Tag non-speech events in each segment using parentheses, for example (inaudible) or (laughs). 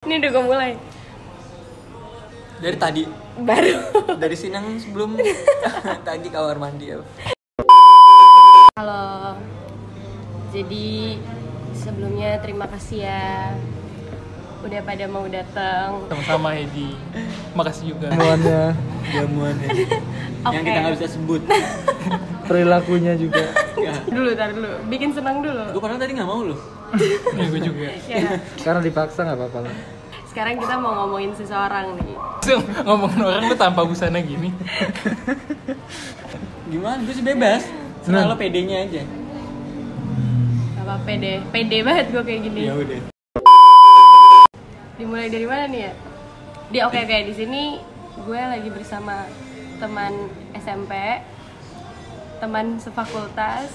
Ini udah gue mulai. dari tadi Baru. dari sinang sebelum (laughs) tadi kamar mandi ya Halo. Jadi sebelumnya terima kasih ya udah pada mau datang. sama-sama Hedi makasih juga (laughs) jamuannya jamuannya yang Oke. kita nggak bisa sebut perilakunya juga Dulu tar dulu, bikin senang dulu. gue padahal tadi nggak mau loh ya gue juga Ya. karena dipaksa nggak apa-apa lah Sekarang kita mau ngomongin seseorang nih. Langsung ngomongin orang lu tanpa busana gini gimana gue sih bebas Senang. selalu pedenya aja Gak apa pede, pede banget gue kayak gini. ya udah Dimulai dari mana nih ya? Di oke oke di sini gue lagi bersama teman SMP, teman sefakultas,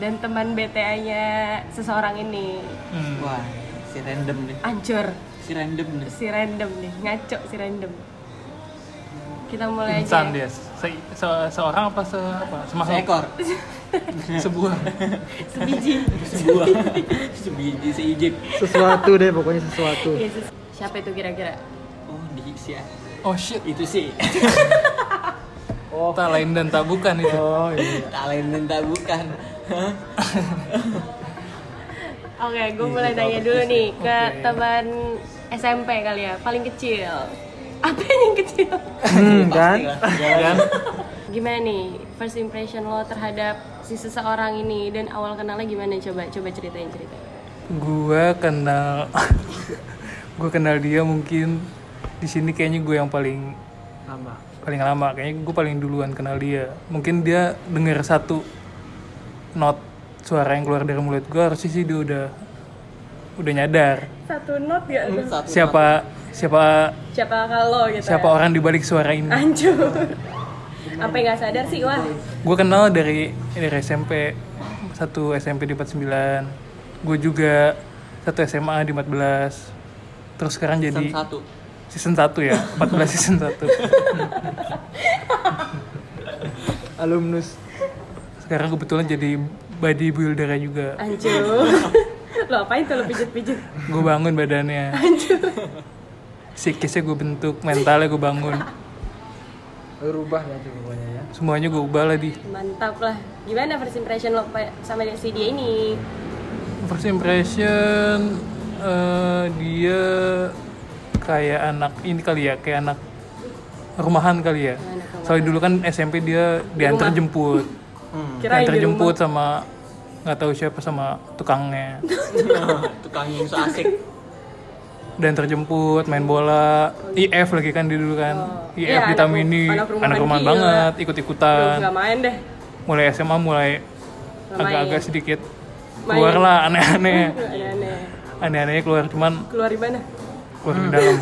dan teman BTA-nya seseorang ini. hmm. wah si random nih Ancur si random nih si random nih, ngaco si random. Kita mulai aja. insan ya. des Se- se- seorang apa se apa semakhluk? seekor sebuah (laughs) Sebiji. sebuah sebiji seijik sesuatu deh pokoknya sesuatu (laughs) Yesus. Siapa itu kira-kira? oh di si oh shit itu sih tak lain dan tak bukan itu oh iya tak lain dan tak bukan Hah? Oke, Iya, gue mulai nanya dulu nih ke teman SMP kali ya, paling kecil. (laughs) Apa yang kecil? hmm, kan Pastilah. kan Gimana nih first impression lo terhadap si seseorang ini dan awal kenalnya gimana coba coba ceritain ceritain. gue kenal (laughs) gue kenal dia mungkin di sini kayaknya gue yang paling lama paling lama kayaknya gue paling duluan kenal dia mungkin dia dengar satu not suara yang keluar dari mulut gue harusnya sih dia udah udah nyadar Satu note gak tuh? Hmm, satu siapa siapa Siapa kalau gitu? siapa orang di balik suara ini Hancur. (laughs) Apa yang nggak sadar sih wah? gue kenal dari dari SMP satu SMP di 49 gue juga satu SMA di 14 terus sekarang Season jadi satu season 1 (laughs) ya 14 season 1 alumnus sekarang kebetulan jadi bodybuilder juga (laughs) Hancur. lo apain tuh lo pijit-pijit? gue bangun badannya psikisnya gue bentuk mentalnya gue bangun berubah lah tuh pokoknya ya semuanya gue ubah lah di Mantap lah. Gimana first impression lo pa- sama dia- si dia ini? first impression eh, dia kayak anak ini kali ya kayak anak rumahan kali ya soalnya dulu kan SMP dia diantar jemput Hmm. Kirain diantar di rumah. jemput sama nggak tahu siapa sama tukangnya (laughs) tukang yang so asik dan terjemput main bola IF lagi kan dia dulu kan Oh. IF Iya, anak ditamini ru- anak anak rumahan rumahan, gila. banget Aduh, ikut-ikutan nggak main deh. mulai SMA mulai Nggak agak-agak main. sedikit Main. keluarlah aneh-aneh Nggak (laughs) aneh-aneh. aneh-anehnya keluar cuman Keluar di mana? keluar di dalam.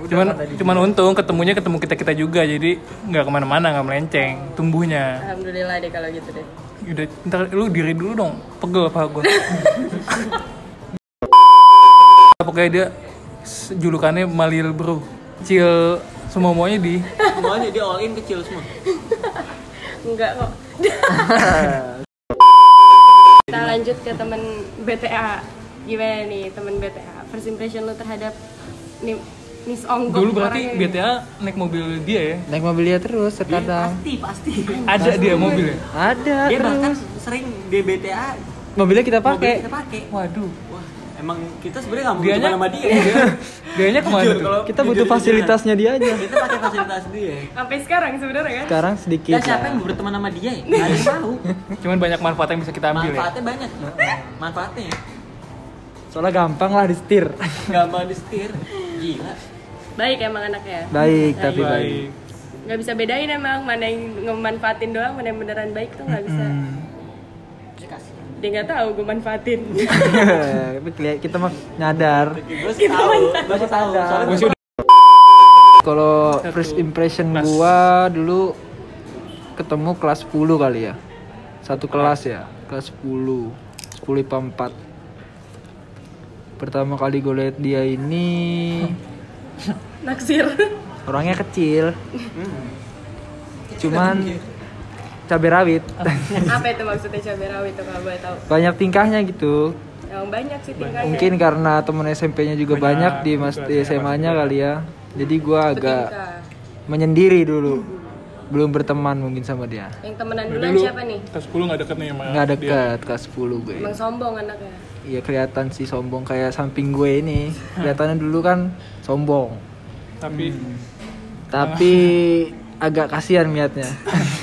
cuman cuman untung ketemunya ketemu kita kita juga jadi nggak kemana-mana nggak melenceng tumbuhnya (laughs) Alhamdulillah deh kalau gitu deh. udah ntar lu diri dulu dong pegel apa (laughs) gue pokoknya dia s- julukannya malil bro cil semua maunya di semuanya dia all in kecil semua Enggak (laughs) kok. Kita lanjut ke temen BTA. Gimana nih temen BTA? First impression lo terhadap Ni- Miss Onggok dulu berarti orangnya. BTA naik mobil dia ya naik mobil dia terus terkadang pasti pasti ada dia mobilnya ada dia bahkan terus sering DBTA mobilnya kita mobilnya pakai kita pakai waduh Wah, emang kita sebenarnya nggak butuh Dianya- sama dia. Iya. (laughs) ya. gayanya kemana Jujur, tuh kalau kita jujur butuh aja, fasilitasnya dia aja Kita pakai fasilitas dia. Sampai sekarang sebenarnya kan? sekarang Ya sedikit siapa yang lah. mau berteman sama (laughs) dia ya? Nggak ada yang tahu. cuman banyak manfaat yang bisa kita ambil ya Manfaatnya banyak. Manfaatnya ya. soalnya gampang lah di setir Nggak mau di setir. Gila. Baik emang anaknya. baik tapi baik baik nggak bisa bedain emang mana yang ngemanfaatin doang mana yang beneran baik tuh nggak bisa Ya, kasihan. dia nggak tahu gue manfaatin Tapi keli- kita mah nyadar Gue sih tahu. Gue sih tahu. Soalnya gue sih udah Kalau first impression Kelas. gua dulu ketemu kelas 10 kali ya. Satu kelas ya, kelas 10. 10 IPA 4. Pertama kali gue lihat dia ini naksir orangnya kecil. Cuman cabai rawit. (laughs) apa itu maksudnya cabai rawit tuh kalau boleh tahu Banyak tingkahnya gitu. Emang banyak sih tingkahnya. Mungkin karena temen SMP-nya juga banyak, di mas di SMA-nya kali ya. Jadi gua agak Tingkah. menyendiri dulu. Belum berteman mungkin sama dia. Yang temenan Berarti duluan lu siapa nih? Kelas 10 nggak deket nih sama Nggak dia. dekat kelas 10 gue. Emang sombong anaknya. Iya kelihatan sih sombong kayak samping gue ini. Kelihatannya dulu kan sombong. Tapi Tapi agak kasihan niatnya.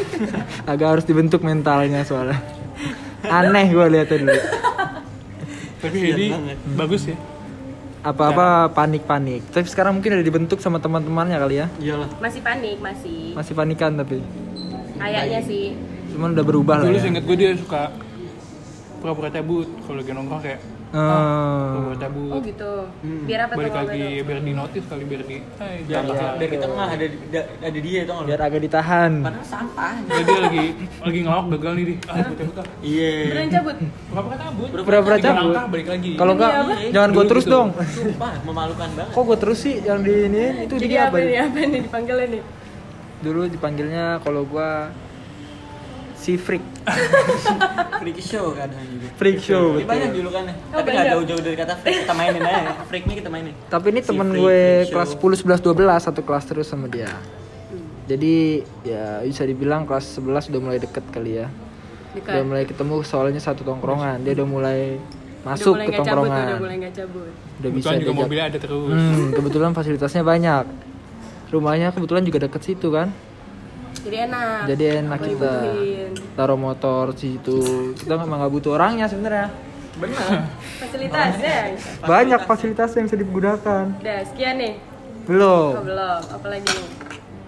(laughs) agak harus dibentuk mentalnya soalnya. Aneh gue lihatnya dulu. tapi Hedi bagus ya. Apa-apa panik-panik. Tapi sekarang mungkin udah dibentuk sama teman-temannya kali ya. Iyalah. Masih panik, masih. Masih panikan tapi. Kayaknya sih. Cuman udah berubah lah Dulu ya. seinget gue dia suka pura-pura cabut kalau lagi nongkrong kayak Eh, pura-pura cabut. Hmm, Oh gitu. Biar apa tuh balik lagi ngomongnya tuh? biar di notif kali biar di eh, Biar, iya, jangan. biar kita mah ada di- da- ada dia tau nggak biar lu? agak ditahan. Padahal sampah. Jadi dia lagi lagi ngelawak gagal nih dia. Ah, buta-buta. Iya. Beneran cabut? Berapa kata cabut? Pura-pura Tiga cabut. langkah, balik lagi. Kalau enggak Iya, jangan gue Dulu terus gitu. dong. Sumpah memalukan banget. Kok gue terus sih yang di ini itu Iya, Jadi dia apa apa? ya? nih? Apa nih dipanggilnya nih? Dulu dipanggilnya kalau gue si freak, Gitu. Freak show kadang juga. freak show Ini banyak betul. julukannya. Oh, Tapi nggak banyak. jauh-jauh dari kata freak. Kita mainin aja. Freaknya kita mainin. Tapi ini Si temen freak, gue freak show. kelas 10, 11, 12 satu kelas terus sama dia. Jadi ya bisa dibilang kelas 11 udah mulai deket kali ya. Udah Dekat. mulai ketemu soalnya satu tongkrongan. Dia udah mulai Udah masuk mulai ke nggak cabut, tuh, udah tongkrongan. mulai nggak cabut. Udah bisa Kebetulan juga diajak mobilnya ada terus. Hmm, kebetulan fasilitasnya banyak. Rumahnya kebetulan juga deket situ kan. Jadi enak. Jadi enak Apa yang kita dibutuhin? taruh motor di situ. Kita memang nggak butuh orangnya sebenarnya. Benar. Fasilitasnya. (laughs) Banyak fasilitas yang bisa digunakan. Udah sekian nih. Kok Belum. belum? Apalagi nih?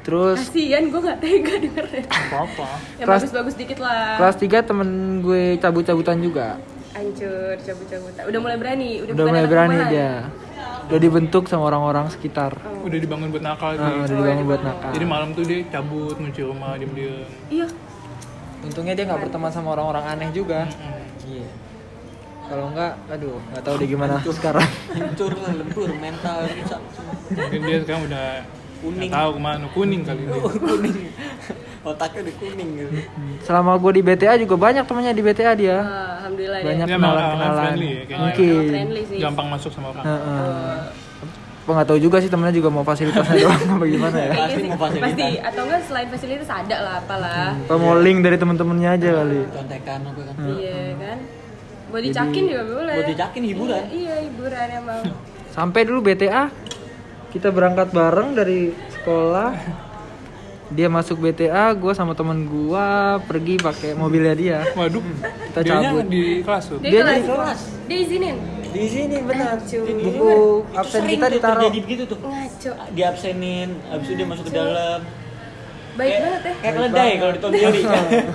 Terus Kasian gue nggak tega dengernya. Apa-apa. Yang Kelas- bagus-bagus dikit lah. kelas 3 temen gue cabut-cabutan juga. Hancur, cabut-cabutan. Udah mulai berani. Udah, Udah bukan mulai anak berani rumahan. dia. Udah dibentuk sama orang-orang sekitar. Udah dibangun buat nakal Nah, dia. udah Oh, dibangun buat nakal. Jadi malam tuh dia cabut ngunci rumah diam-diam. Iya. Untungnya dia nggak berteman sama orang-orang aneh juga. Iya. Kalau nggak, aduh, nggak tahu deh gimana sekarang. Hancur lah, lembur mental rusak. semua. Mungkin dia sekarang udah nggak Kuning. Oh, tahu kemana kuning kali ini. kuning. Otaknya udah kuning gitu. Selama gue di BTA juga banyak temannya di BTA dia. Ah, Alhamdulillah deh. Banyak Dia emang kenalan-kenalan. friendly ya, kayaknya. Oh, emang Mungkin. friendly sih. Oh. Gampang masuk sama orang. Heeh. Apa nggak tahu juga sih temennya juga mau fasilitasnya doang apa gimana ya? Kayaknya Pasti sih, mau fasilitas. Pasti atau enggak selain fasilitas ada lah apalah. Apa mau Iya. link dari temen-temennya aja kali? Contekan apa Hmm. kan. Iya kan. Mau dicakin juga boleh. Buat dijakin hiburan. Iya, iya hiburan emang. Sampai dulu BTA kita berangkat bareng dari sekolah. Dia masuk BTA, gue sama temen gue pergi pakai mobilnya dia. Waduh, Kita dianya cabut. di kelas tuh. Dia, Dia kelas. jadi kelas. Dia izinin. Di sini benar. Iya, Buku kan? absen kita ditaruh. Jadi begitu tuh. Ngaco. Diabsenin, abis itu dia masuk ke dalam. Baik banget ya. Kayak keledai kalau ditonton diri. (laughs)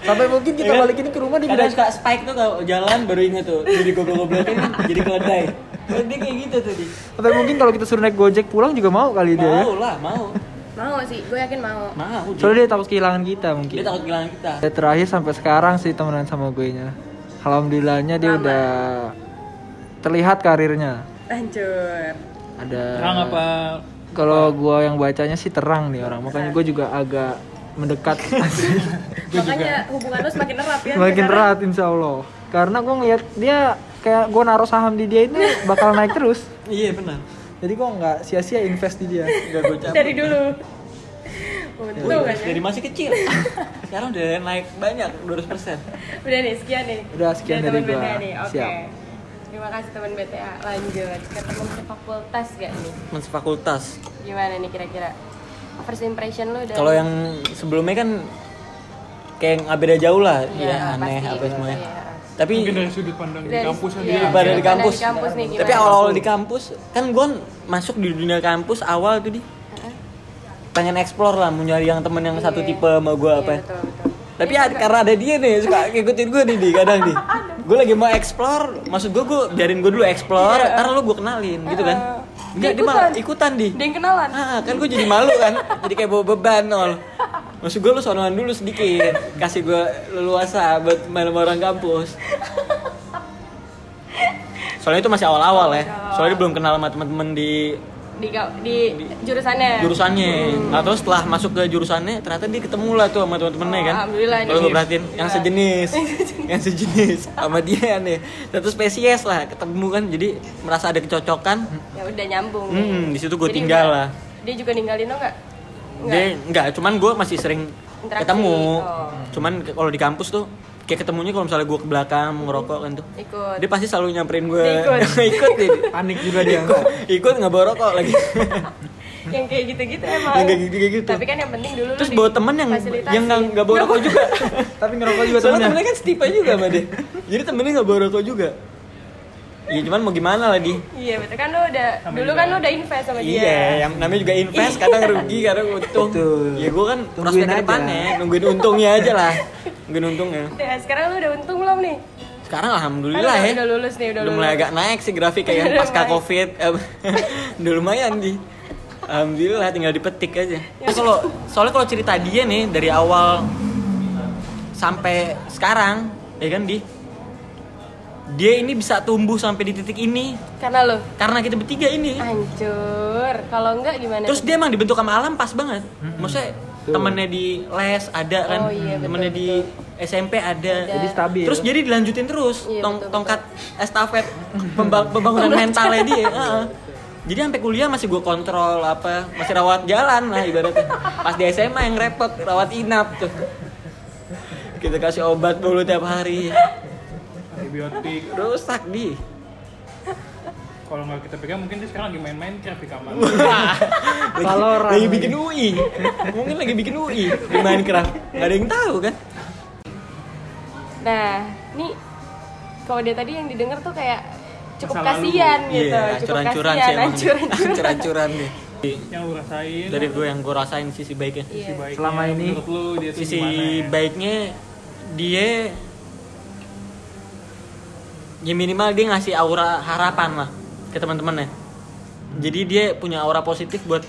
Sampai mungkin kita balik ini ke rumah dia Ya kan? Kadang bilang suka spike tuh kalau jalan baru inget tuh. Jadi goblok-goblokin jadi keledai. Kalau Dia (laughs) kayak gitu tuh. Di. Sampai mungkin kalau kita suruh naik gojek pulang juga mau kali dia ya. Mau lah, mau. Mau sih, gue yakin mau. Mau. Di. Soalnya dia takut kehilangan kita mungkin. Dia takut kehilangan kita. Ya, terakhir sampai sekarang sih temenan sama gue nya. Alhamdulillahnya dia Lama. udah terlihat karirnya. Hancur. Ada Terang apa? Kalau gue yang bacanya sih terang nih orang. Makanya gue juga agak mendekat (laughs) Makanya hubungan lu semakin erat ya. makin sekarang. erat insya Allah. Karena gue ngeliat dia kayak gue naruh saham di dia itu bakal naik terus. Iya benar. Jadi gue nggak sia-sia invest di dia. Gak gue cabut. Dari dulu. Untung kan ya. Dari masih kecil. Sekarang udah naik banyak 200%. Udah nih, sekian nih. Udah, sekian dari teman gua. BTA nih. Oke. Siap. Terima kasih teman BTA. Lanjut ke teman sefakultas gak nih? Mas fakultas. Gimana nih kira-kira? First impression lu dari Kalau yang sebelumnya kan kayak nggak beda jauh lah, ya, aneh Iya, pasti, apa semuanya. pasti, ya. Tapi Mungkin dari sudut pandang di Dari- kampus aja. ya. iya, dia. daripada di Daripada kampus. di kampus nih, gimana? Tapi awal-awal di kampus kan gue masuk di dunia kampus awal tuh di pengen explore lah, mau nyari yang temen yang satu Iya. tipe sama gue Iya, apa. ya. betul, Iya, betul. Tapi ya, karena ada dia nih suka ngikutin gue nih di kadang nih. Gue lagi mau explore, maksud gue gue biarin gue dulu explore, Iya. ntar lo gue kenalin gitu kan. Enggak, dia malah ikutan di. Ada yang kenalan. Ah, kan gue jadi malu kan, jadi kayak bawa beban nol. Maksud gue lu sonoan dulu sedikit, kasih gue leluasa buat main sama orang kampus. Soalnya itu masih awal-awal ya, soalnya dia belum kenal sama teman-teman di di ka- di jurusannya jurusannya atau setelah masuk ke jurusannya ternyata dia ketemu lah tuh sama teman-temannya Oh, kan alhamdulillah nih. kalau lu perhatiin yang Iya. sejenis (laughs) yang sejenis sama dia nih satu spesies lah ketemu kan jadi merasa ada kecocokan ya udah nyambung Hmm, di situ gua Jadi tinggal udah- lah. dia juga ninggalin lo nggak dia enggak cuman gue masih sering Interaksi. ketemu Oh. cuman ke- kalau di kampus tuh kayak ketemunya kalau misalnya gue ke belakang mau ngerokok kan tuh ikut dia pasti selalu nyamperin gue Dia ikut. (laughs) ikut dia Panik juga dia. ikut nggak bawa rokok lagi yang kayak gitu-gitu emang Yang kayak gitu- kayak gitu. tapi kan yang penting dulu lu terus bawa temen yang difasilitasi. yang nggak nggak bawa rokok (laughs) juga Tapi ngerokok juga Soalnya temennya. temennya kan setipe juga sama dia Jadi temennya gak bawa rokok juga Ya cuman mau gimana lah di iya betul kan lu udah dulu kan lu udah invest sama dia Iya, yang namanya juga invest, kadang rugi, kadang untung Betul. Ya gue kan Tungguin prospek aja. ke depannya, nungguin untungnya aja lah Nungguin untungnya Udah, Ya, sekarang lu udah untung belum nih Sekarang Kan Alhamdulillah udah, ya udah lulus nih udah, Udah mulai agak naik sih grafik kayak Udah pasca (laughs) naik. covid Eh, (laughs) Udah lumayan di Alhamdulillah tinggal dipetik aja Ya. Terus kalau Soalnya kalau cerita dia nih dari awal Sampai sekarang Ya kan di dia ini bisa tumbuh sampai di titik ini karena lu karena kita bertiga ini hancur kalau enggak gimana terus dia emang dibentuk sama alam pas banget maksudnya temennya di les ada kan Oh, iya, betul, temennya di SMP ada Jadi stabil. terus jadi dilanjutin terus Iya, tong- betul, tongkat estafet pemba- pembangunan mentalnya dia heeh. jadi sampai kuliah masih gue kontrol apa masih rawat jalan lah ibaratnya pas di SMA yang repot rawat inap tuh kita kasih obat dulu tiap hari Antibiotik. rusak di Kalau nggak kita pegang mungkin dia sekarang lagi main Minecraft di kamar. (laughs) lagi, Valorant lagi lagi. bikin UI mungkin lagi bikin UI di Minecraft nggak ada yang tahu kan nah nih kalau dia tadi yang didengar tuh kayak cukup Masa lalu. kasihan gitu Iya, cukup ancur-ancuran sih kasihan emang. hancur-hancuran Ancur-ancuran nih. yang lu rasain Dari gue yang gue rasain sisi baiknya. Iya. sisi baiknya, Selama ini, menurut lu dia tuh Sisi gimana ya? baiknya dia ya minimal dia ngasih aura harapan lah ke teman-temannya. Jadi dia punya aura positif buat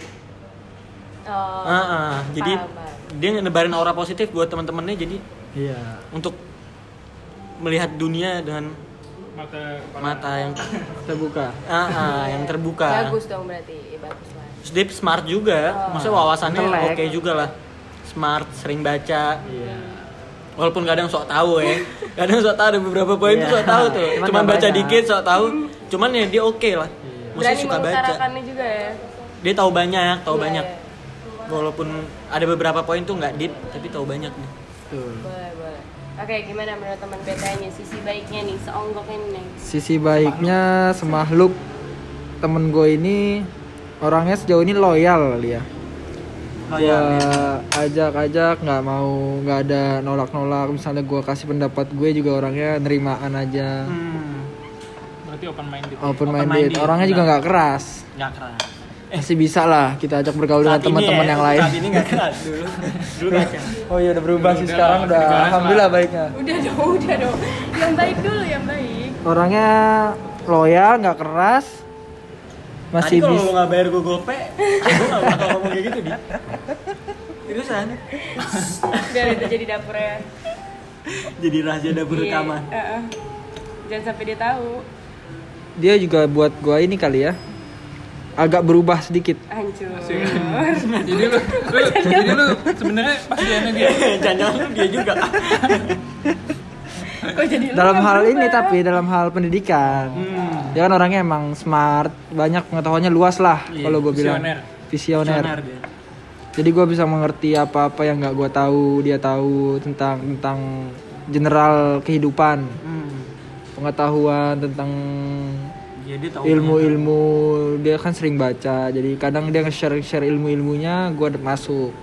oh, Ah, ah. jadi paham, paham. dia ngenebarin aura positif buat teman-temannya jadi Iya. untuk melihat dunia dengan mata mata yang Terbuka. ah, ah, yang terbuka. bagus dong berarti bagus lah Terus dia smart juga, maksudnya wawasannya Intelek. oke juga lah. Smart, sering baca. Walaupun kadang sok tahu ya. Kadang sok tahu ada beberapa poin Iya. tuh sok tahu tuh. Cuman Cuman nggak baca banyak. dikit sok tahu. Cuman ya dia oke lah. Maksudnya berani suka baca. mengutarakannya juga ya Dia tahu banyak, tahu Iya, banyak. iya. Walaupun ada beberapa poin tuh nggak deep, tapi tahu banyak nih. Tuh. boleh boleh oke gimana menurut teman betanya sisi baiknya nih seonggoknya nih Sisi baiknya semakhluk temen gue ini orangnya sejauh ini loyal dia. ya. Gua ajak-ajak nggak mau nggak ada nolak-nolak misalnya gue kasih pendapat gue juga orangnya nerimaan aja Hmm, berarti open minded open Open-minded, minded orangnya juga nggak keras nggak keras. masih bisa lah kita ajak bergaul dengan Eh. Saat ini teman-teman ya, yang lain Saat ini nggak keras dulu. Dulu kan. nggak keras. oh iya udah berubah sih Udah, sekarang udah udah keras lah. alhamdulillah baiknya udah dong udah dong yang baik dulu yang baik (laughs) orangnya loyal nggak keras Masih masih Tadi kalau bisa lo nggak bayar gue gope, gue nggak bakal ngomong kayak gitu di. Seriusan? (laughs) biar itu jadi dapur ya Jadi rahasia dapur Iya, utama. heeh. jangan sampai dia tahu dia juga buat gue ini kali ya agak berubah sedikit hancur jadi lu, lu jadi lu sebenarnya pasiennya dia (laughs) Jangan-jangan lu dia juga. kok jadi lu dalam yang hal ini berubah? tapi dalam hal pendidikan Hmm. dia kan orangnya emang smart banyak pengetahuannya luas lah Iya, kalau gue bilang visioner. visioner, gitu. Sonar dia. jadi gue bisa mengerti apa apa yang nggak gue tahu dia tahu tentang tentang general kehidupan Hmm. pengetahuan tentang Ya, dia tahu. ilmu-ilmu dia kan sering baca jadi kadang dia nge-share-share ilmu-ilmunya gue masuk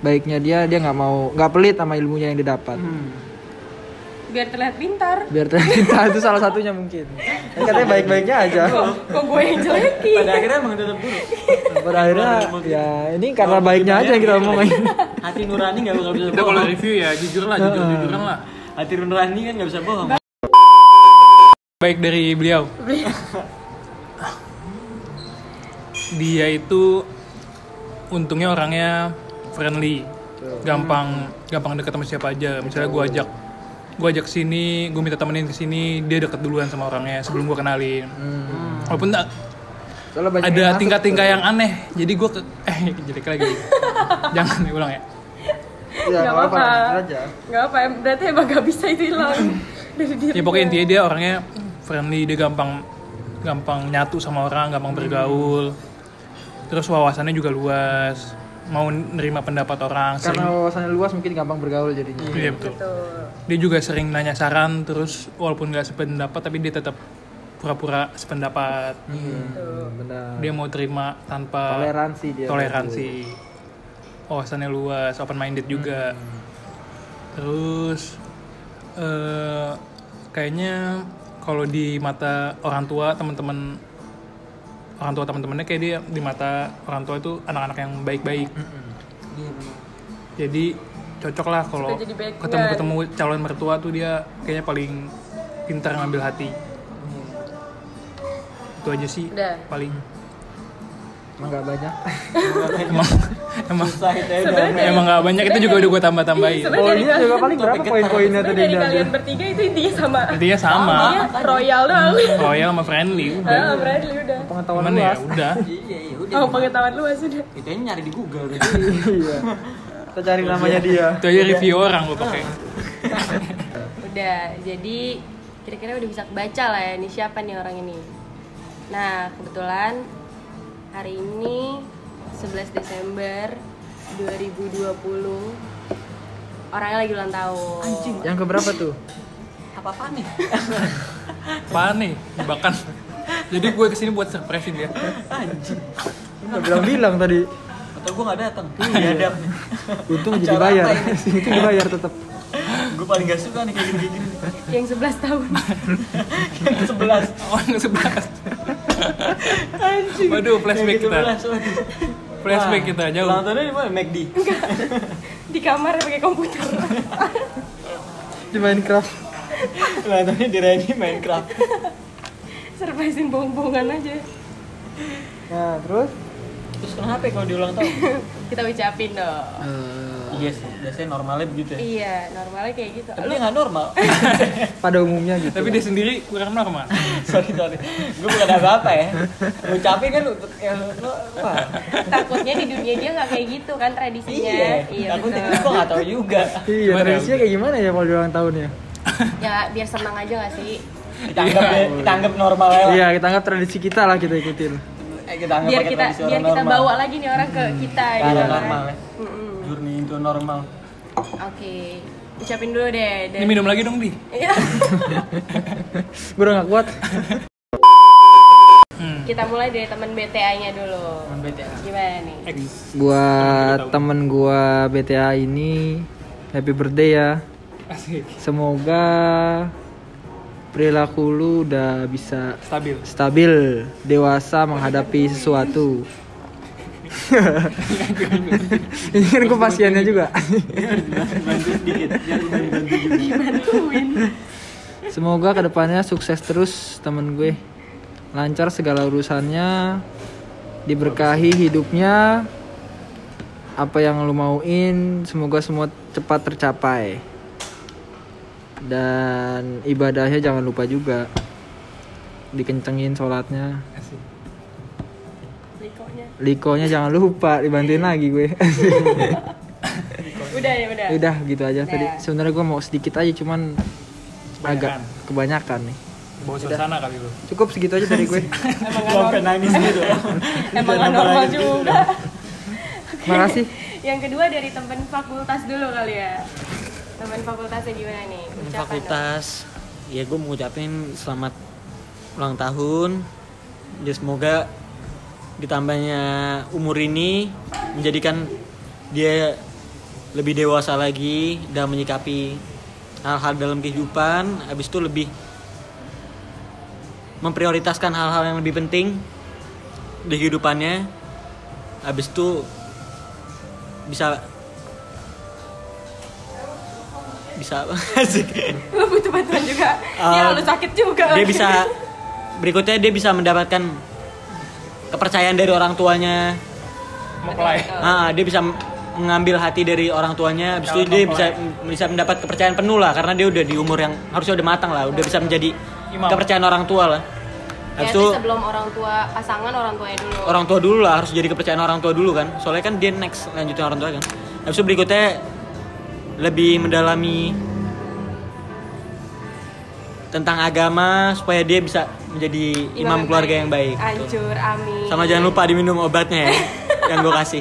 baiknya dia dia nggak mau nggak pelit sama ilmunya yang didapat Hmm. biar terlihat pintar biar tercinta (laughs) itu salah satunya mungkin Kan katanya baik-baiknya aja Iya, kok kok gue yang jelekin Pada akhirnya emang tetap buruk. pada akhirnya ya ini karena Kalau baiknya kita aja ya, yang kita bayar, omongin iya. Hati nurani nggak bakal bisa kita kalau bohong. review ya jujur lah jujur jujuran lah Hati nurani kan nggak bisa bohong. baik dari beliau dia itu untungnya orangnya friendly gampang gampang deket sama siapa aja misalnya gue ajak gue ajak sini gue minta temenin ke sini dia deket duluan sama orangnya sebelum gue kenalin walaupun tak Soalnya banyak ada yang masuk tingkah-tingkah tuh. yang aneh jadi gue ke eh (laughs) jelek lagi jangan nih ulang ya Iya, Nggak nggak apa-apa. apa-apa. lanjut aja. nggak apa berarti emang gak bisa itu (laughs) hilang dari diri ya Iya. pokoknya intinya dia orangnya friendly dia gampang gampang nyatu sama orang gampang bergaul terus wawasannya juga luas mau nerima pendapat orang sering Karena wawasannya luas mungkin gampang bergaul jadinya. iya betul Betul. dia juga sering nanya saran terus walaupun nggak sependapat tapi dia tetap pura-pura sependapat Iya. Hmm, Benar. dia mau terima tanpa Toleransi dia. toleransi wawasannya luas open minded juga Hmm. terus eh, kayaknya kalau di mata orang tua teman-teman orang tua teman-temannya kayak dia di mata orang tua itu anak-anak yang baik-baik Iya, jadi cocok lah kalau Suka jadi baik ketemu ketemu calon mertua tuh dia kayaknya paling pintar ngambil hati Iya. itu aja sih Udah. paling Emang nggak banyak. emang emang Susah itu ya. Sebenarnya dari- emang nggak banyak itu juga udah gue tambah tambahin Sebenarnya Oh dari iya, kalian- juga paling berapa poin-poinnya sebenarnya tadi ya? dari Dada? kalian bertiga itu intinya sama. intinya sama Hmm, Iya, royal doang. royal sama friendly udah Ah, Bradley (laughs) udah. Pengetahuan cuman ya luas. udah Iya, iya, udah. Oh, pengetahuan luas udah. Itu aja nyari di Google. Iya. Iya. Kita cari namanya dia. itu aja review orang gue pakai Udah. Jadi kira-kira udah bisa kebaca lah ya ini siapa nih orang ini. Nah, kebetulan hari ini 11 Desember 2020 orangnya lagi ulang tahun. Anjing. Yang keberapa tuh? Apa-apa nih? apa nih jebakan (laughs) jadi gue kesini buat surprisein dia Anjing. Udah bilang-bilang tadi. Atau gue gak datang. Iya, ada. Untung jadi Acara bayar. apa ini? Itu dibayar tetap. Gue paling gak suka nih kayak gini-gini. (laughs) Yang 11 tahun. Yang ke sebelas. orang ke Oh, sebelas Anjing. Waduh, flashback Yang ke kita. 17, waduh. flashback Wah, kita jauh Ulang tahunnya di mana? McD. Di kamar pakai komputer. Di Minecraft. Ulang tahunnya dirayain di Minecraft. Surprisein bohong-bohongan aja. Nah, terus Terus kenapa ya kalau di ulang tahun? (laughs) Kita ucapin dong. Eh. Iya sih, biasanya normalnya begitu ya. Iya, normalnya kayak gitu. Tapi dia nggak normal. (laughs) pada umumnya gitu. tapi dia sendiri kurang normal (laughs) sorry sorry, gue bukan apa-apa ya. Ngucapin kan lu, ya lu, lu apa? takutnya di dunia dia nggak kayak gitu kan tradisinya. Iya, Iya, Aku betul. gue nggak tahu juga. Iya, Gimana? tradisinya kayak gimana ya kalau di ulang tahun ya? Ya biar senang aja nggak sih? Kita anggap, kita anggap normal aja. lah. Iya, kita anggap tradisi kita lah kita ikutin. Eh, Kita anggap Biar pakai kita tradisi biar orang kita normal. Hmm. bawa lagi nih orang ke kita Ke gitu arah kan. normal ya. Mm-mm. Journey into normal. Oke, ucapin dulu deh. ini dari- minum lagi dong di Iya. Gue udah gak kuat. hmm. kita mulai dari teman BTA-nya dulu. Temen BTA. Gimana nih? X Buat temen gua BTA ini happy birthday ya. asik Semoga perilaku lu udah bisa stabil stabil, dewasa menghadapi (laughs) sesuatu. (laughs) Ini kan gue pasiennya juga. (laughs) Bantu sedikit, jangan bantu juga. Bantuin. Semoga kedepannya sukses terus temen gue. Lancar segala urusannya, diberkahi hidupnya. Apa yang lu mauin, semoga semua cepat tercapai. Dan ibadahnya jangan lupa juga, dikencengin sholatnya. asik Likonya. Likonya jangan lupa dibantuin lagi gue. Udah ya udah. Udah gitu aja tadi. Udah. Sebenarnya gue mau sedikit aja cuman agak kebanyakan nih. bawa suasana kali lu Cukup segitu aja dari gue. Emang (laughs) Gua sampai nggak normal. nangis gitu. (laughs) Emang nggak normal juga. (laughs) Makasih. Yang kedua dari teman fakultas dulu kali ya. Teman fakultasnya gimana nih? Ucapan dong. fakultas ya gue mengucapin selamat ulang tahun ya semoga ditambahnya umur ini menjadikan dia lebih dewasa lagi dan menyikapi hal-hal dalam kehidupan habis itu lebih memprioritaskan hal-hal yang lebih penting di kehidupannya habis itu bisa bisa asik Lu butuh bantuan juga. Eh, ya lu sakit juga. dia bisa (laughs) berikutnya dia bisa mendapatkan kepercayaan dari orang tuanya mau play ah dia bisa mengambil hati dari orang tuanya habis itu dia bisa bisa mendapat kepercayaan penuh lah karena dia udah di umur yang harusnya udah matang lah udah bisa menjadi Imam. kepercayaan orang tua lah Ya, Habis itu itu sebelum orang tua pasangan orang tuanya dulu. orang tua dulu lah harus jadi kepercayaan orang tua dulu kan. Soalnya kan dia next lanjutin orang tua kan. Habis itu berikutnya lebih mendalami tentang agama supaya dia bisa menjadi imam, keluarga yang baik. Tuh. Hancur, amin. Sama jangan lupa diminum obatnya (laughs) ya yang gue kasih.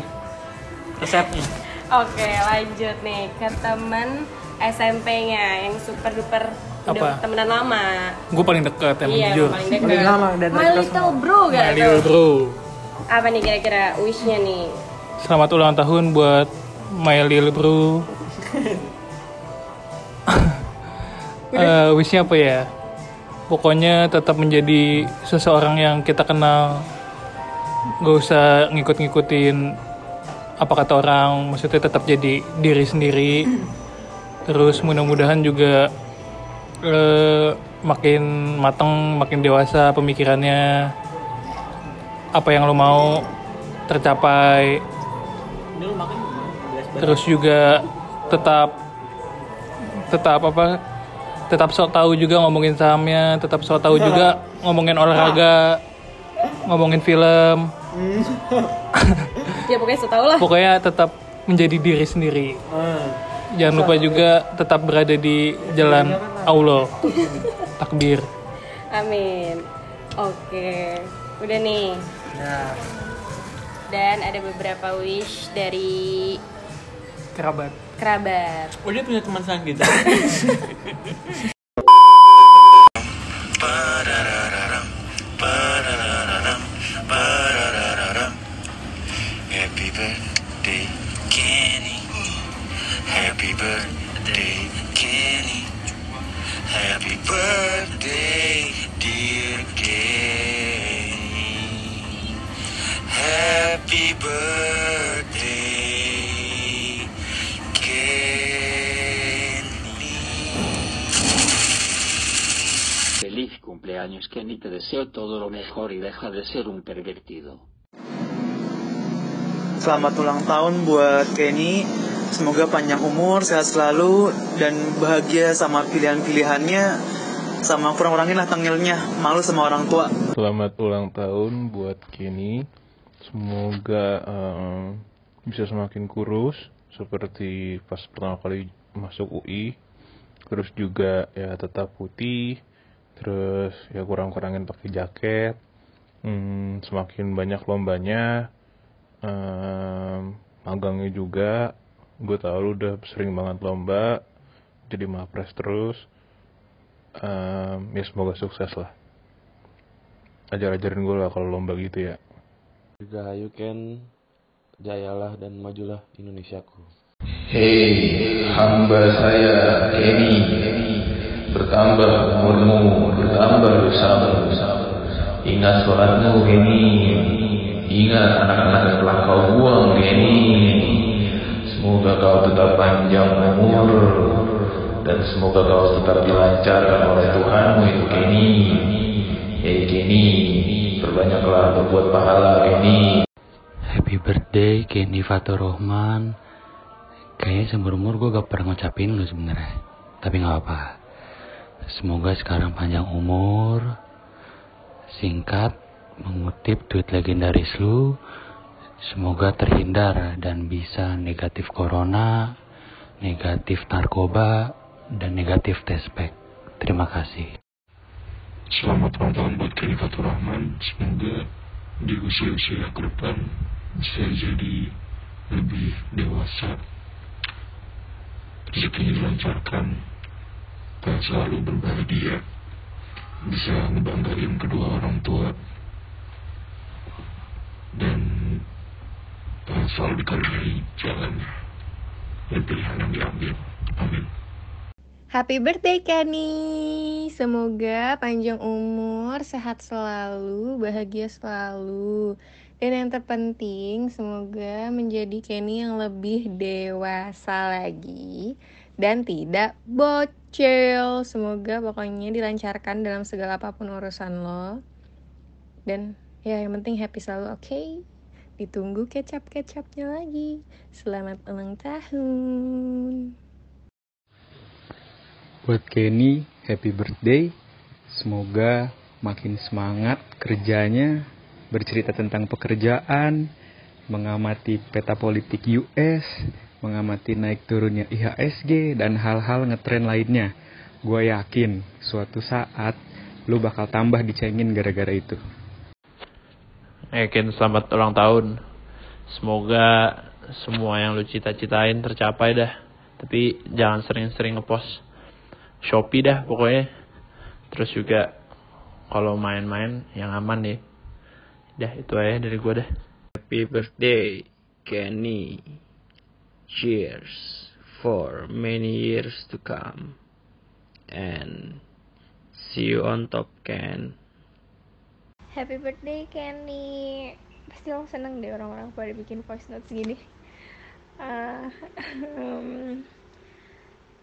Resepnya. Oke, lanjut nih ke teman SMP-nya yang super duper udah Apa? temenan lama. Gue paling dekat emang iya, jujur. paling dekat. Paling lama dan My dekat little bro gak My little bro. Apa nih kira-kira wish-nya nih? Selamat ulang tahun buat My little bro. Eh, wishnya apa ya? Pokoknya tetap menjadi seseorang yang kita kenal. Gak usah ngikut-ngikutin apa kata orang. Maksudnya tetap jadi diri sendiri. Terus mudah-mudahan juga eh, makin mateng, makin dewasa pemikirannya. Apa yang lo mau tercapai terus juga tetap tetap apa tetap sok tahu juga ngomongin sahamnya tetap sok tahu juga ngomongin olahraga ngomongin film (laughs) Ya pokoknya setau lah. pokoknya tetap menjadi diri sendiri jangan lupa juga tetap berada di jalan Allah takbir Amin. Oke. Udah nih. Dan ada beberapa wish dari kerabat kerabat. Oh dia punya teman sang gitu. (laughs) Happy birthday, Kenny. Happy birthday, Kenny. Happy birthday, dear Kenny. Happy birthday, Kenny. Feliz cumpleaños Kenny, te deseo todo lo mejor y deja de ser un pervertido. Selamat ulang tahun buat Kenny. Semoga panjang umur, sehat selalu, dan bahagia sama pilihan-pilihannya, sama kurang-kurangin lah tengilnya, malu sama orang tua. Selamat ulang tahun buat Kenny. Semoga eh, bisa semakin kurus seperti pas pertama kali masuk UI. Terus juga ya tetap putih. Terus ya kurang-kurangin pakai jaket. Hmm, semakin banyak lombanya. Em, magangnya juga. Gue tahu lu udah sering banget lomba. Jadi mapres terus. Em, ya semoga sukses lah ajar-ajarin gue lah kalau lomba gitu ya. Dirgahayu Ken, jayalah dan majulah Indonesiaku. Hei, hamba saya Kenny, bertambah umurmu, bertambah dosamu. Ingat sholatmu Kenny, ingat anak-anak yang telah kau buang Kenny. Semoga kau tetap panjang umur dan semoga kau tetap dilancarkan oleh Tuhanmu itu Kenny. Hei Kenny, perbanyaklah berbuat pahala Kenny. Happy birthday Kenny Fatur Rahman. Kayaknya seumur umur gue gak pernah ngucapin lu sebenarnya. Tapi nggak apa-apa. Semoga sekarang panjang umur, singkat, mengutip tweet legendaris lu. Semoga terhindar dan bisa negatif corona, negatif narkoba, dan negatif tespek. Terima kasih. Selamat ulang tahun buat Kenny Fatur Rahman. Semoga di usia-usia ke depan bisa jadi lebih dewasa. Rezekinya dilancarkan dan selalu berbahagia. Bisa ngebanggain kedua orang tua. Dan eh, selalu dikaruniai jalan dan pilihan yang diambil. Amin. Happy birthday Kenny. Semoga panjang umur, sehat selalu, bahagia selalu. Dan yang terpenting, semoga menjadi Kenny yang lebih dewasa lagi dan tidak bocil. Semoga pokoknya dilancarkan dalam segala apapun urusan lo. Dan ya yang penting happy selalu, oke? Ditunggu kecap-kecapnya lagi. Selamat ulang tahun. Buat Kenny, happy birthday. Semoga makin semangat kerjanya, bercerita tentang pekerjaan, mengamati peta politik US, mengamati naik turunnya IHSG, dan hal-hal ngetren lainnya. Gue yakin suatu saat lu bakal tambah dicengin gara-gara itu. Eh Ken, selamat ulang tahun. Semoga semua yang lu cita-citain tercapai dah. Tapi jangan sering-sering ngepost Shopee dah pokoknya. Terus juga kalau main-main yang aman ya. Dah itu aja dari gua dah. Happy birthday, Kenny. Cheers for many years to come. And see you on top, Ken. Happy birthday Kenny. Pasti lo seneng deh orang-orang pada bikin voice notes gini. Ah, (laughs) em,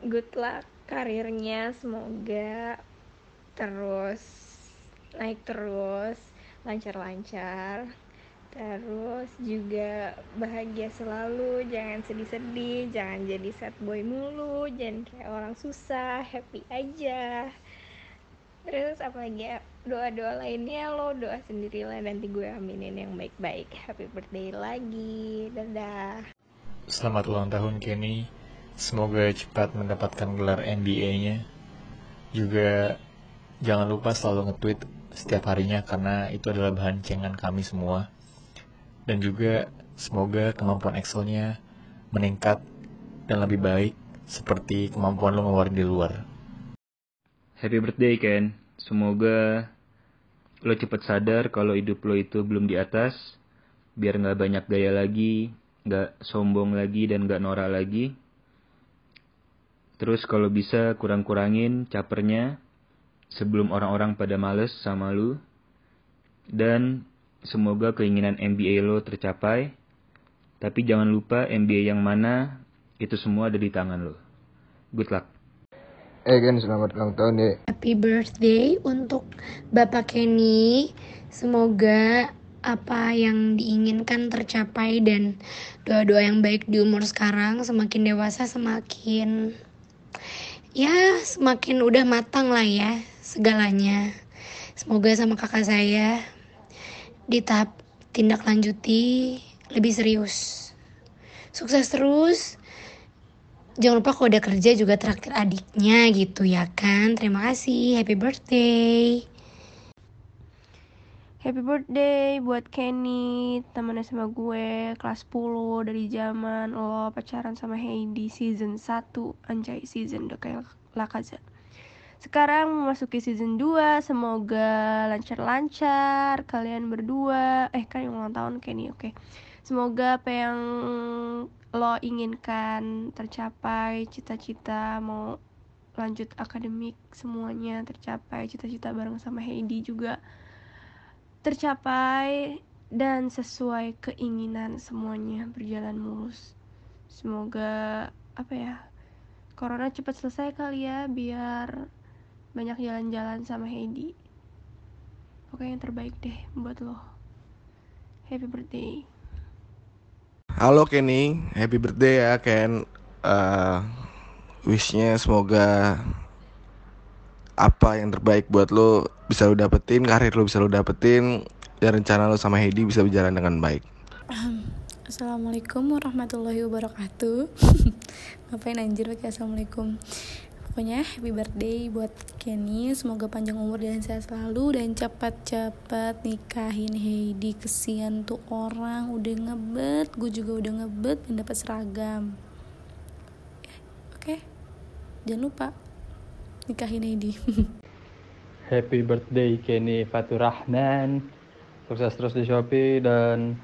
good luck karirnya semoga terus naik terus lancar-lancar terus juga bahagia selalu jangan sedih-sedih jangan jadi sad boy mulu jangan kayak orang susah happy aja terus apalagi ya, doa-doa lainnya lo doa sendirilah nanti gue aminin yang baik-baik happy birthday lagi dadah Selamat ulang tahun Kenny. Semoga cepat mendapatkan gelar NBA-nya. Juga jangan lupa selalu nge-tweet setiap harinya karena itu adalah bahan cengan kami semua. Dan juga semoga kemampuan Excel-nya meningkat dan lebih baik seperti kemampuan lo ngeluarin di luar. Happy birthday Ken. Semoga lo cepet sadar kalau hidup lo itu belum di atas, biar nggak banyak gaya lagi, nggak sombong lagi dan nggak norak lagi. Terus kalau bisa kurang-kurangin capernya sebelum orang-orang pada males sama lu. Dan semoga keinginan MBA lo tercapai. Tapi jangan lupa MBA yang mana itu semua ada di tangan lo. Good luck. Eh Ken, selamat ulang tahun ya. Happy birthday untuk Bapak Kenny. Semoga apa yang diinginkan tercapai dan doa-doa yang baik di umur sekarang semakin dewasa semakin ya semakin udah matang lah ya segalanya. Semoga sama kakak saya di tahap tindak lanjuti lebih serius. Sukses terus. Jangan lupa kalau udah kerja juga traktir adiknya gitu ya kan. Terima kasih. Happy birthday. Happy birthday buat Kenny, temannya sama gue, kelas 10 dari zaman lo pacaran sama Heidi season 1, anjay season udah kayak lakaza. Sekarang memasuki season 2, semoga lancar-lancar kalian berdua. Eh kan yang ulang tahun Kenny, oke. Semoga apa yang lo inginkan tercapai, cita-cita mau lanjut akademik semuanya tercapai, cita-cita bareng sama Heidi juga tercapai dan sesuai keinginan semuanya berjalan mulus. Semoga apa ya? Corona cepat selesai kali ya biar banyak jalan-jalan sama Heidi. Oke, yang terbaik deh buat lo. Happy birthday. Halo Kenny, happy birthday ya Ken. Eh, wishnya semoga apa yang terbaik buat lo bisa lo dapetin, karir lo bisa lo dapetin, dan rencana lo sama Heidi bisa berjalan dengan baik. (clears throat) Assalamualaikum warahmatullahi wabarakatuh (laughs) Ngapain anjir pakai Assalamualaikum Pokoknya happy birthday buat Kenny Semoga panjang umur dan sehat selalu Dan cepat-cepat nikahin Heidi Kesian tuh orang udah ngebet Gue juga udah ngebet dan dapat seragam Eh, Oke Jangan lupa nikahin Heidi (laughs) Happy birthday Kenny Fatur Rahman. Sukses terus di Shopee dan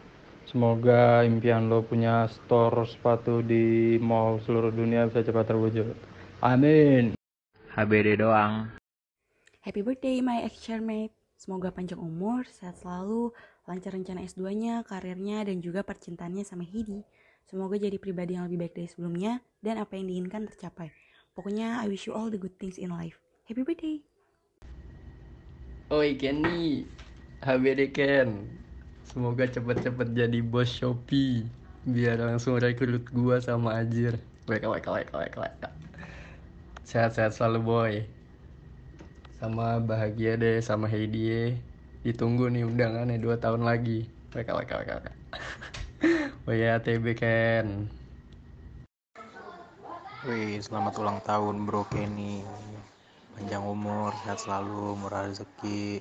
semoga impian lo punya store sepatu di mall seluruh dunia bisa cepat terwujud. Amin. HBD doang. Happy birthday my action mate. Semoga panjang umur, sehat selalu, lancar rencana S2-nya, karirnya, dan juga percintaannya sama Hidi. Semoga jadi pribadi yang lebih baik dari sebelumnya, dan apa yang diinginkan tercapai. Pokoknya, I wish you all the good things in life. Happy birthday! Oi Kenny, HBD Ken. Semoga cepet-cepet jadi bos Shopee. Biar langsung rekrut gua sama Ajir. Weka weka weka weka weka. Sehat-sehat selalu boy. sama bahagia deh sama Heidi ye. ditunggu nih undangannya dua tahun lagi mereka mereka mereka Waya TB iya, Ken Wih, selamat ulang tahun bro Kenny. Panjang umur, sehat selalu, murah rezeki.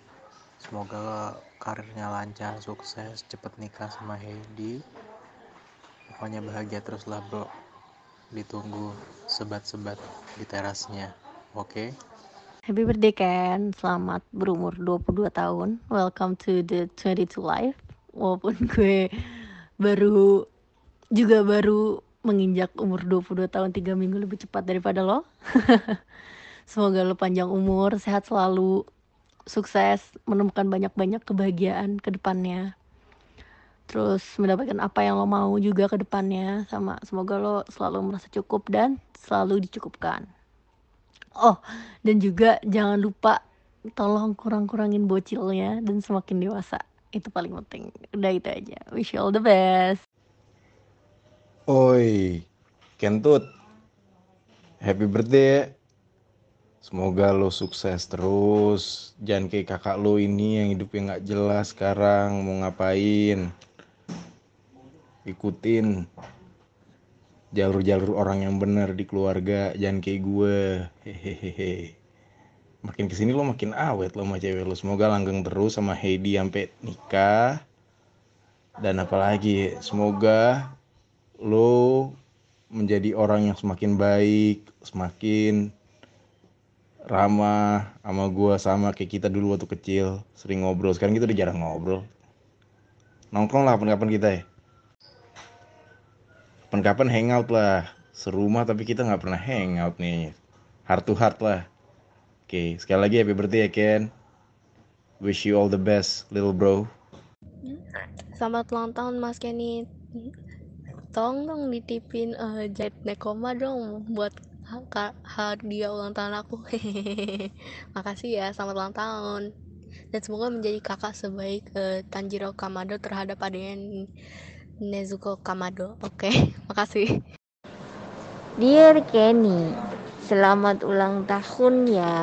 Semoga karirnya lancar, sukses, cepet nikah sama Heidi. Pokoknya bahagia terus lah bro. Ditunggu sebat-sebat di terasnya. Oke? Happy birthday Ken, selamat berumur 22 tahun. Welcome to the 22 life. Walaupun (laughs) gue baru juga baru menginjak umur 22 tahun 3 minggu lebih cepat daripada lo. (laughs) Semoga lo panjang umur, sehat selalu, sukses, menemukan banyak-banyak kebahagiaan ke depannya. Terus mendapatkan apa yang lo mau juga ke depannya sama semoga lo selalu merasa cukup dan selalu dicukupkan. Oh, dan juga jangan lupa tolong kurang-kurangin bocilnya dan semakin dewasa. Itu paling penting. Udah itu aja. Wish you all the best. Oi, Kentut. Happy birthday ya. Semoga lo sukses terus. Jangan kayak kakak lo ini yang hidupnya nggak jelas sekarang mau ngapain. Ikutin jalur-jalur orang yang benar di keluarga, jangan kayak gue. Hehehe. Makin kesini lo makin awet lo sama cewek lo. Semoga langgeng terus sama Heidi sampai nikah. Dan apalagi, semoga lo menjadi orang yang semakin baik, semakin ramah sama gua sama kayak kita dulu waktu kecil sering ngobrol sekarang kita udah jarang ngobrol nongkrong lah kapan-kapan kita ya kapan-kapan hangout lah serumah tapi kita nggak pernah hangout nih heart to heart lah oke sekali lagi happy birthday ya Ken wish you all the best little bro Selamat ulang tahun Mas Kenny. Tolong dong ditipin eh, jahit nekoma dong buat ha- ka- hadiah ulang tahun aku. (laughs) Makasih ya, selamat ulang tahun. Dan semoga menjadi kakak sebaik eh, Tanjiro Kamado terhadap adiknya Nezuko Kamado. Oke, (laughs) makasih. Dear Kenny, selamat ulang tahun ya.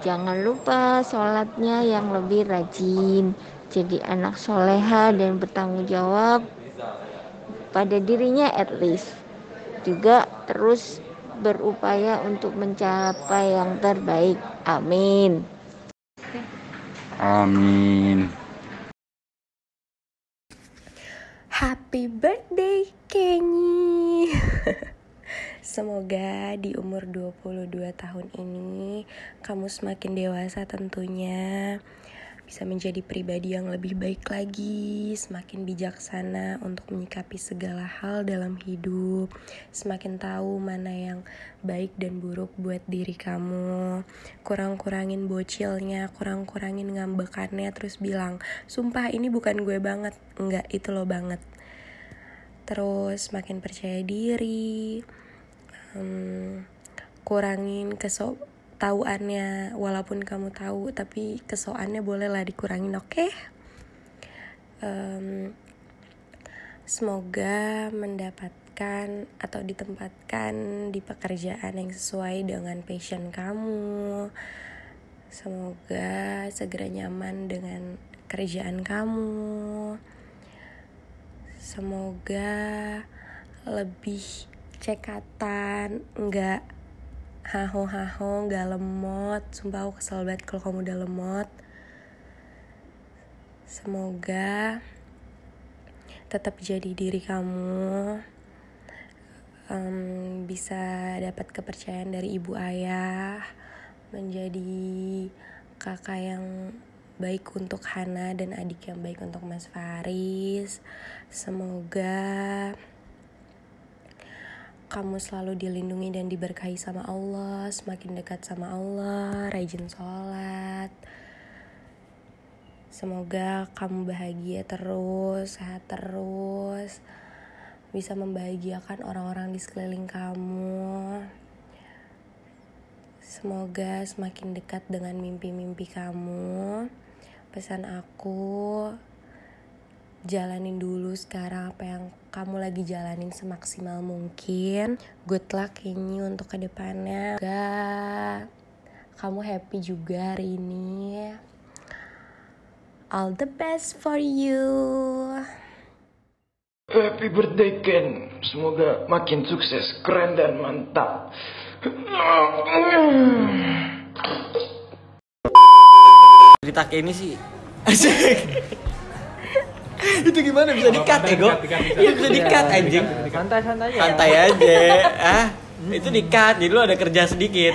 Jangan lupa sholatnya yang lebih rajin. Jadi anak soleha dan bertanggung jawab pada dirinya at least. Juga terus berupaya untuk mencapai yang terbaik. Amin. Amin. Happy birthday Kenny. (laughs) Semoga di umur 22 tahun ini kamu semakin dewasa tentunya bisa menjadi pribadi yang lebih baik lagi, semakin bijaksana untuk menyikapi segala hal dalam hidup, semakin tahu mana yang baik dan buruk buat diri kamu. Kurang-kurangin bocilnya, kurang-kurangin ngambekannya terus bilang, "Sumpah ini bukan gue banget." Enggak, itu lo banget terus makin percaya diri em, kurangin keso tauannya walaupun kamu tahu tapi kesoannya bolehlah dikurangin oke Mmm, Em, semoga mendapatkan atau ditempatkan di pekerjaan yang sesuai dengan passion kamu semoga segera nyaman dengan kerjaan kamu semoga lebih cekatan nggak haho haho nggak lemot sumpah aku kesel banget kalau kamu udah lemot semoga tetap jadi diri kamu Em, bisa dapat kepercayaan dari ibu ayah menjadi kakak yang baik untuk Hana dan adik yang baik untuk Mas Faris. Semoga kamu selalu dilindungi dan diberkahi sama Allah, semakin dekat sama Allah, rajin sholat. Semoga kamu bahagia terus, sehat terus, bisa membahagiakan orang-orang di sekeliling kamu. Semoga semakin dekat dengan mimpi-mimpi kamu. Pesan aku, jalanin dulu sekarang apa yang kamu lagi jalanin semaksimal mungkin. Good luck ini untuk kedepannya. Semoga kamu happy juga hari ini. All the best for you. Happy birthday Ken. Semoga makin sukses, keren dan mantap. cerita Kenny sih itu gimana bisa dikat ego Iya bisa dikat anjing santai santai santai aja ah itu dikat jadi lu ada kerja sedikit